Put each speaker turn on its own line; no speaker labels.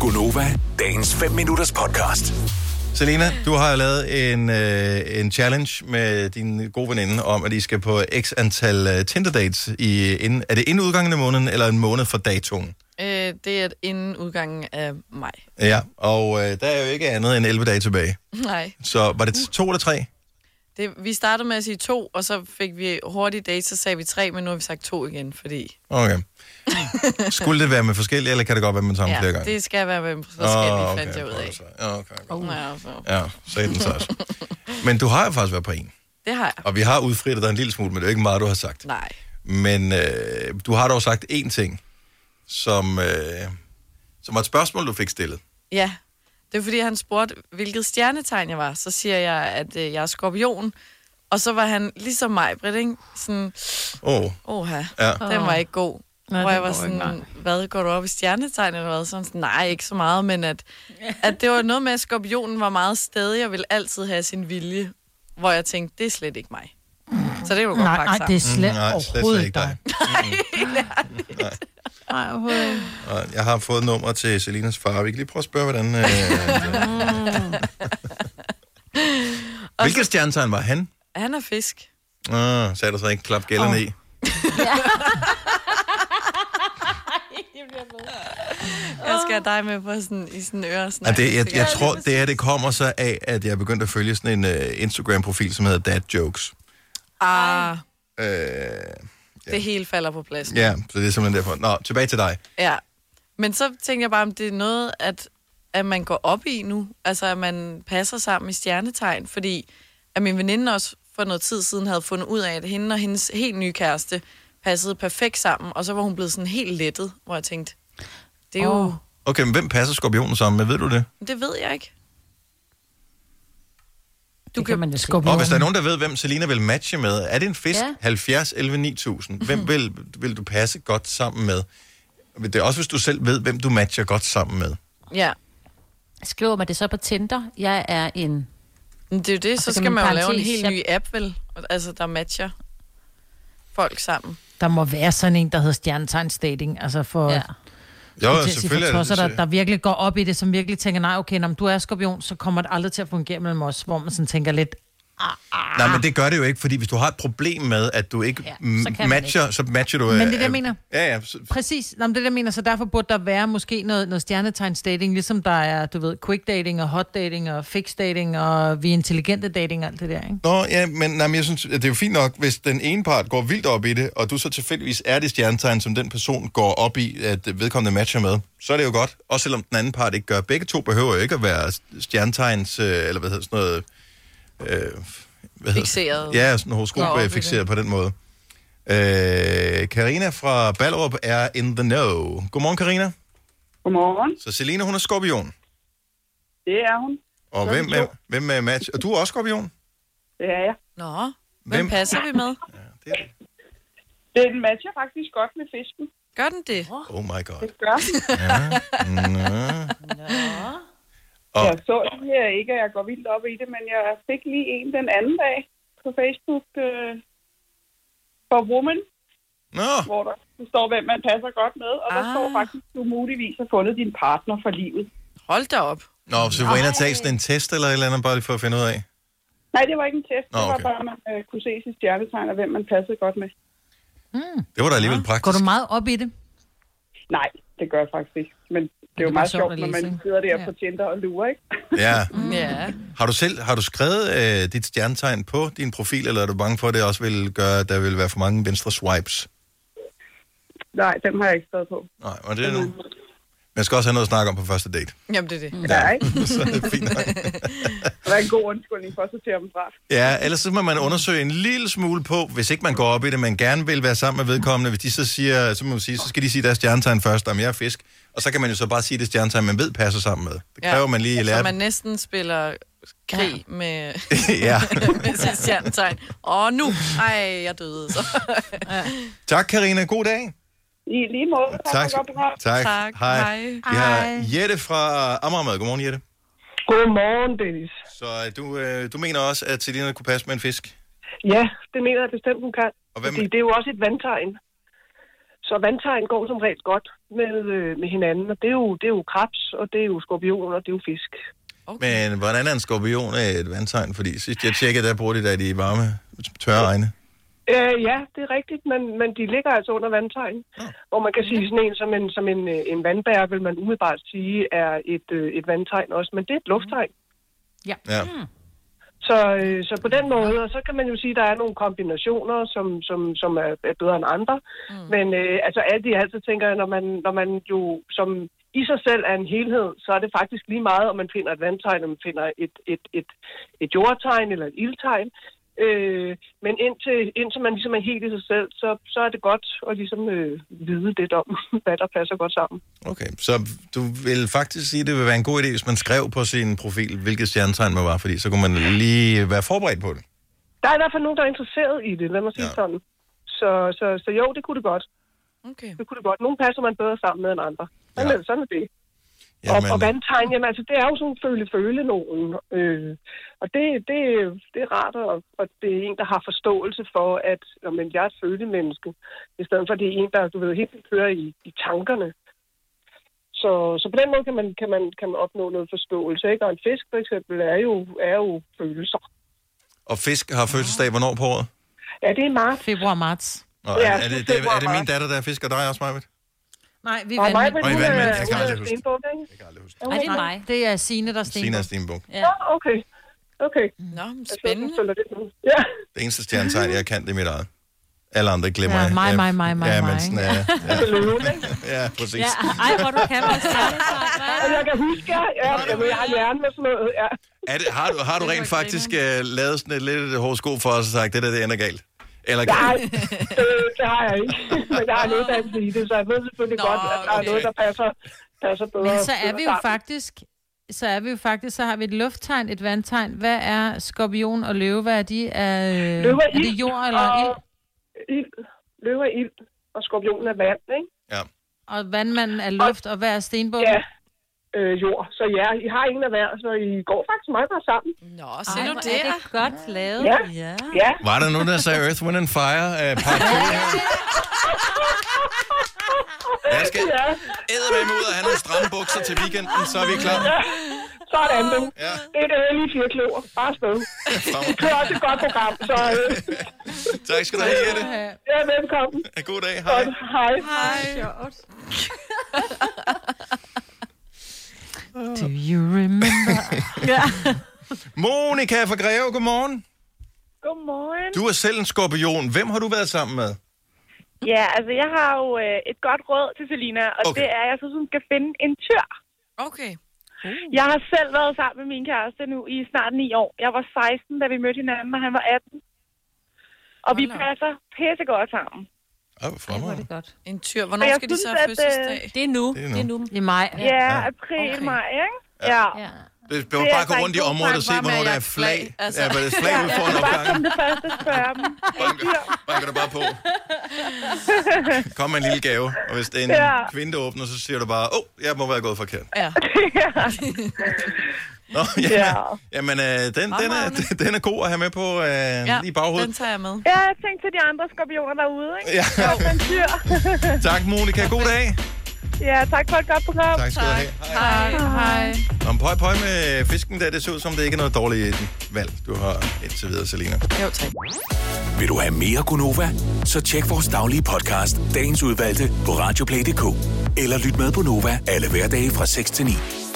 Gunova, dagens 5 minutters podcast.
Selina, du har lavet en, øh, en challenge med din gode veninde om, at I skal på x antal øh, Tinder-dates. I, inden, er det inden udgangen af måneden, eller en måned fra datoen?
Øh, det er inden udgangen af maj.
Ja, og øh, der er jo ikke andet end 11 dage tilbage.
Nej.
Så var det to eller tre?
Det, vi startede med at sige to, og så fik vi hurtigt date, så sagde vi tre, men nu har vi sagt to igen, fordi...
Okay. Skulle det være med forskellige, eller kan det godt være med samme ja, flere gange?
det skal være med forskellige, oh,
Åh,
okay, fandt jeg ud af.
prøv at se. Åh, Okay, okay.
Ja, så.
Ja, så er den så også. Men du har jo faktisk været på en,
Det har jeg.
og vi har udfrittet dig en lille smule, men det er jo ikke meget, du har sagt.
Nej.
Men øh, du har dog sagt én ting, som, øh, som var et spørgsmål, du fik stillet.
Ja. Det er fordi, han spurgte, hvilket stjernetegn jeg var. Så siger jeg, at øh, jeg er skorpion. Og så var han ligesom mig, Britt, ikke? Sådan,
Åh, oh,
åha,
ja.
den var ikke god.
Nej,
Nej, hvor jeg var
den går ikke,
sådan, hvad, går du op i stjernetegn eller hvad? Sådan, sådan, nej, ikke så meget, men at, at det var noget med, at skorpionen var meget stedig og ville altid have sin vilje, hvor jeg tænkte, det er slet ikke mig. Så det var godt
Nej,
pakke
nej, det er
sammen.
slet
Mm, Nej, slet, slet
overhovedet
ikke dig.
Nej, overhovedet ikke.
Og Jeg har fået nummer til Selinas far. Vi kan lige prøve at spørge, hvordan... Øh, Hvilket stjernetegn var han?
Han er fisk.
Ah, sagde der så ikke klap gælderne oh. i.
Jeg skal have dig med på sådan, i sådan en øre. Sådan
Ja, det, jeg, jeg tror, det her det kommer så af, at jeg begyndte at følge sådan en uh, Instagram-profil, som hedder Dad Jokes.
Ah,
Uh,
det hele falder på plads.
ja, så det er simpelthen derfor. Nå, tilbage til dig.
Ja. Men så tænker jeg bare, om det er noget, at, at man går op i nu. Altså, at man passer sammen i stjernetegn. Fordi at min veninde også for noget tid siden havde fundet ud af, at hende og hendes helt nye kæreste passede perfekt sammen. Og så var hun blevet sådan helt lettet, hvor jeg tænkte, det er jo...
Åh.
Okay, men hvem passer skorpionen sammen med? Ved du det?
Det ved jeg ikke.
Du kan man jo
Og
skorpion.
hvis der er nogen, der ved, hvem Selina vil matche med, er det en fisk? Ja.
Ja.
70, 11, 9000. Hvem
Mhm.
vil, vil du passe godt sammen med? Men Det er også, hvis du selv ved, hvem du matcher godt sammen med.
Ja.
Skriver man det så på Tinder? Jeg er en...
Men det er jo det, så, så
så Altså, kan
skal
man
man jo lave en
parentes,
helt
jeg-
ny app, vel? Altså, der matcher folk sammen.
Der må være sådan en, der hedder stjernetegns dating, altså for...
Ja.
Ja.
Jo,
til at sige for tosser, der, der
det.
virkelig går op i det, som virkelig tænker, nej, okay, når du er skorpion, så kommer det aldrig til at fungere mellem os, hvor man sådan tænker lidt,
Nej, men det gør det jo ikke, fordi hvis du har et problem med, at du ikke
Ja,
ja,
så kan man ikke.
matcher, så matcher du...
Men det er det,
øh,
jeg mener.
Ja, ja. så-
præcis, Nå, men det er det, jeg mener, så derfor burde der være måske noget, noget stjernetegns dating, ligesom der er, du ved, quick dating og hot dating og fix dating og vi er intelligente dating og alt det der, ikke?
Nå, ja, men, nej, men jeg synes, at det er jo fint nok, hvis den ene part går vildt op i det, og du så tilfældigvis er det stjernetegn, som den person går op i, at vedkommende matcher med, så er det jo godt. Også selvom den anden part ikke gør. Begge to behøver jo ikke at være stjernetegns, øh, eller hvad hedder sådan noget... Øh, hvad hedder-
Fixeret.
Ja, sådan
Går op i det.
horoskopfixeret på den måde. Øh, Karina fra Ballerup er in the know. Godmorgen, Karina.
Godmorgen.
Så Selina, hun er skorpion.
Det er hun.
Og hvem er, hvem er match? Og du er også skorpion?
Det er jeg.
Nå, hvem,
Hvem-
hvem passer vi med?
Det er,
Den matcher faktisk godt med fisken.
Gør den det?
oh my god.
Det gør den.
Og,
Jeg så lige øh, ikke, at jeg går vildt op i det, men jeg fik lige en den anden dag på Facebook øh, for Woman,
nå.
hvor der står, hvem man passer godt med, og der
Ah.
står faktisk, du muligvis har fundet din partner for livet.
Hold da op.
Nå, så du var inde og tage sådan en test eller et eller andet, bare lige for at finde ud af.
Nej, det var ikke en test.
Nå,
Det var
okay.
bare, at man øh, kunne se sit stjernetegn og hvem man passede godt med.
Det var da alligevel
Går
praktisk.
du meget op i det?
Nej, det gør jeg faktisk ikke. Men det er
er
jo meget
bare sjovt
sjovt,
at
når
læse,
man
ikke?
sidder der
Ja.
på Tinder og lurer, ikke?
Ja.
Mm.
Ja.
Har du selv har du skrevet øh, dit stjernetegn på din profil, eller er du bange for, at det også vil gøre, at der vil være for mange venstre swipes?
Nej, dem har jeg ikke skrevet på.
Nej, og det er nu. Man skal også have noget at snakke om på første date.
Jamen, det
Mm.
er det.
Ja, ikke?
så er det fint nok.
Det var en god undskyldning for at sortere dem fra.
Ja, ellers så må man undersøge en lille smule på, hvis ikke man går op i det, man gerne vil være sammen med vedkommende. Hvis de så siger, så, må man sige, så skal de sige deres stjernetegn først, om jeg er fisk. Og så kan man jo så bare sige det stjernetegn, man ved passer sammen med. Det kræver man lige at
Så
lære.
Altså,
man næsten spiller krig ja. med,
ja.
med sit stjernetegn. Og nu, ej, jeg døde så.
Tak, Karina. God dag.
I lige måde. for
Tak.
et godt program.
tak.
Tak.
Hej.
Hej.
Vi har Jette fra Amagermad. Godmorgen, Jette.
Godmorgen, Dennis.
Så øh, du, øh, du mener også, at Selina kunne passe med en fisk?
Ja, det mener jeg bestemt, hun kan.
Og hvem-
Fordi det er jo også et vandtegn. Så vandtegn går som regel godt med, øh, med hinanden, og det er, jo, det er jo krebs, og det er jo skorpion, og det er jo fisk.
Men hvordan er en skorpion af et vandtegn? Fordi sidst jeg tjekkede, der bruger de der de varme, tørre egne.
Øh, ja, det er rigtigt, men, men de ligger altså under vandtegn, ja.
Ah.
hvor man kan sige sådan en som en, som en, øh, en vandbær, vil man umiddelbart sige, er et, øh, et vandtegn også, men det er et lufttegn.
Ja.
Mm.
Så, øh, så på den måde, og så kan man jo sige, at der er nogle kombinationer, som, som, som er, er bedre end andre. Mm. Men øh, altså alt i alt, så tænker jeg, når man, når man jo som i sig selv er en helhed, så er det faktisk lige meget, om man finder et vandtegn, om man finder et, et, et, et jordtegn eller et ildtegn. Øh, men indtil, indtil man ligesom er helt i sig selv, så, så er det godt at ligesom øh, vide lidt om, hvad der passer godt sammen.
Okay, så du vil faktisk sige, at det vil være en god idé, hvis man skrev på sin profil, hvilket stjernetegn man var, fordi så kunne man lige være forberedt på det.
Der er i hvert fald nogen, der er interesseret i det, lad mig sige
Ja.
ja. sådan. Så, så, så jo, det kunne det godt.
Okay.
det kunne det godt. Nogle passer man bedre sammen med end andre. Sådan,
Ja.
ja. er, sådan er det. Jamen. Og, og vandtegn, jamen, altså, det er jo sådan føle-føle nogen. Øh, og det, det, det er rart, og, og det er en, der har forståelse for, at jamen, jeg er et følemenneske, i stedet for, at det er en, der du ved, helt vildt kører i, i tankerne. Så, så på den måde kan man, kan man, kan man opnå noget forståelse. Ikke? Og en fisk for eksempel er jo, er jo følelser.
Og fisk har fødselsdag hvornår på året?
Ja, det er meget.
Februar-marts.
Nå,
Ja,
er, er, det,
det
det,
er
er det min datter, der er fisk, og dig også, Majbet?
Nej, vi er
Og mig,
vandmænd.
Og i
hun er,
vandmænd, jeg kan
hun
aldrig
er
huske det.
stenbuk, ikke?
Jeg kan aldrig huske
Nej, det er mig.
Det er Signe, der
det. Sina
stinker.
Stenbog.
Ja, okay. Okay.
Nå, men
Jeg sidder og
spændende.
følger det nu. Ja.
Det eneste stjernetegn, jeg kan, det er mit eget. Alle andre glemmer
Ja,
jeg.
mig,
Ja,
mig, mig, mig,
Ja, men
mig,
sådan, ja, ja,
Løven, ikke?
ja, præcis.
Ja, ej, hvor du kan vores stjernetegn, hva'?
Og jeg kan huske, ja, ja, jamen, jeg har hjernen med sådan noget. Ja.
Er det, har, du, har du rent faktisk uh, lavet sådan et lidt et horoskop for os og sagt, det der, det ender galt? Eller
Nej,
galt?
øh, det har jeg ikke. Men jeg har en uddannelse i det, så jeg ved selvfølgelig
Nå,
godt, at der er
okay.
noget, der passer, passer bedre.
Men så er vi jo
bedre
faktisk... Så er vi jo faktisk, så har vi et lufttegn, et vandtegn. Hvad er skorpion og løve? Hvad er de? Er, øh,
Løve er
er det
ild,
jord eller
og-
ild?
sammen. Ild, løver ild, og skorpionen er vand, ikke?
Ja.
Og vandmanden er luft, og hvad er stenbog?
Ja. Øh, jord. Så ja, I har ingen af hver, så I går faktisk meget godt sammen.
Nå, se nu
hvor
det.
er det godt lavet.
Ja.
ja.
Ja.
Var der nogen, der sagde Earth, Wind and Fire? Uh, part two her? Jeg skal
Ja,
eddermame ud og have nogle stramme bukser til weekenden, så er vi klar.
sådan du.
Ja,
Det er det hellige firkløver. Bare sted.
fremad.
Det er også et godt program, så øh,
Tak skal du have, Jette.
ja, velkommen.
Ha' God dag. Hej.
Godt. Hej.
Do you remember?
Monika fra Greve, godmorgen.
Godmorgen.
Du er selv en skorpion. Hvem har du været sammen med?
Ja, altså jeg har jo øh, et godt råd til Selina, og
Okay.
okay. det er, at jeg synes, hun skal finde en tyr.
Okay.
Jeg har selv været sammen med min kæreste nu i snart 9 år. Jeg var 16, da vi mødte hinanden, og han var 18. Og vi
Hold da op.
passer pissegodt sammen.
Ah, hvor
Ej, hvor er det
fremragende.
godt.
En tyr.
Og
Hvornår
jeg
skal de så
synes,
have
at, øh,
fødselsdag?
Det er nu.
Det er
Det er nu.
I maj.
Ja, ja april,
Okay.
okay. maj, ikke? Ja. ja.
Ja.
Det det var
Det er
bare at gå
altså
rundt i
en god
området og
tanke,
se,
bare med,
hvornår
at
der
jeg
er
er
flag.
flag, altså.
Ja, var det flag ud foran
Som
opgangen?
det første spørger dem.
Banker- Banker du bare på. Kom med en lille gave, og hvis det er en
Ja.
kvinde, der åbner, så siger du bare, åh, oh, jeg må være gået forkert.
Ja.
Nå, ja.
Ja.
Jamen, øh, den, den, er, den er god at have med på øh, ja, i
den
baghovedet.
tager jeg med.
Ja, jeg tænkte til de andre skorpioner derude, ikke?
Ja.
Jo, en tyr.
Tak, Monika. God dag.
Ja, tak for et godt program.
Tak skal du have. Hej.
Hej, hej.
Om pøj, pøj med fisken der, det ser ud som, det ikke er noget dårligt valg, du har indtil videre, Selina.
Jo, tak.
Vil du have mere Gunova? Så tjek vores daglige podcast, dagens udvalgte, på radioplay.dk. Eller lyt med på Nova alle hverdage fra 6 til 9.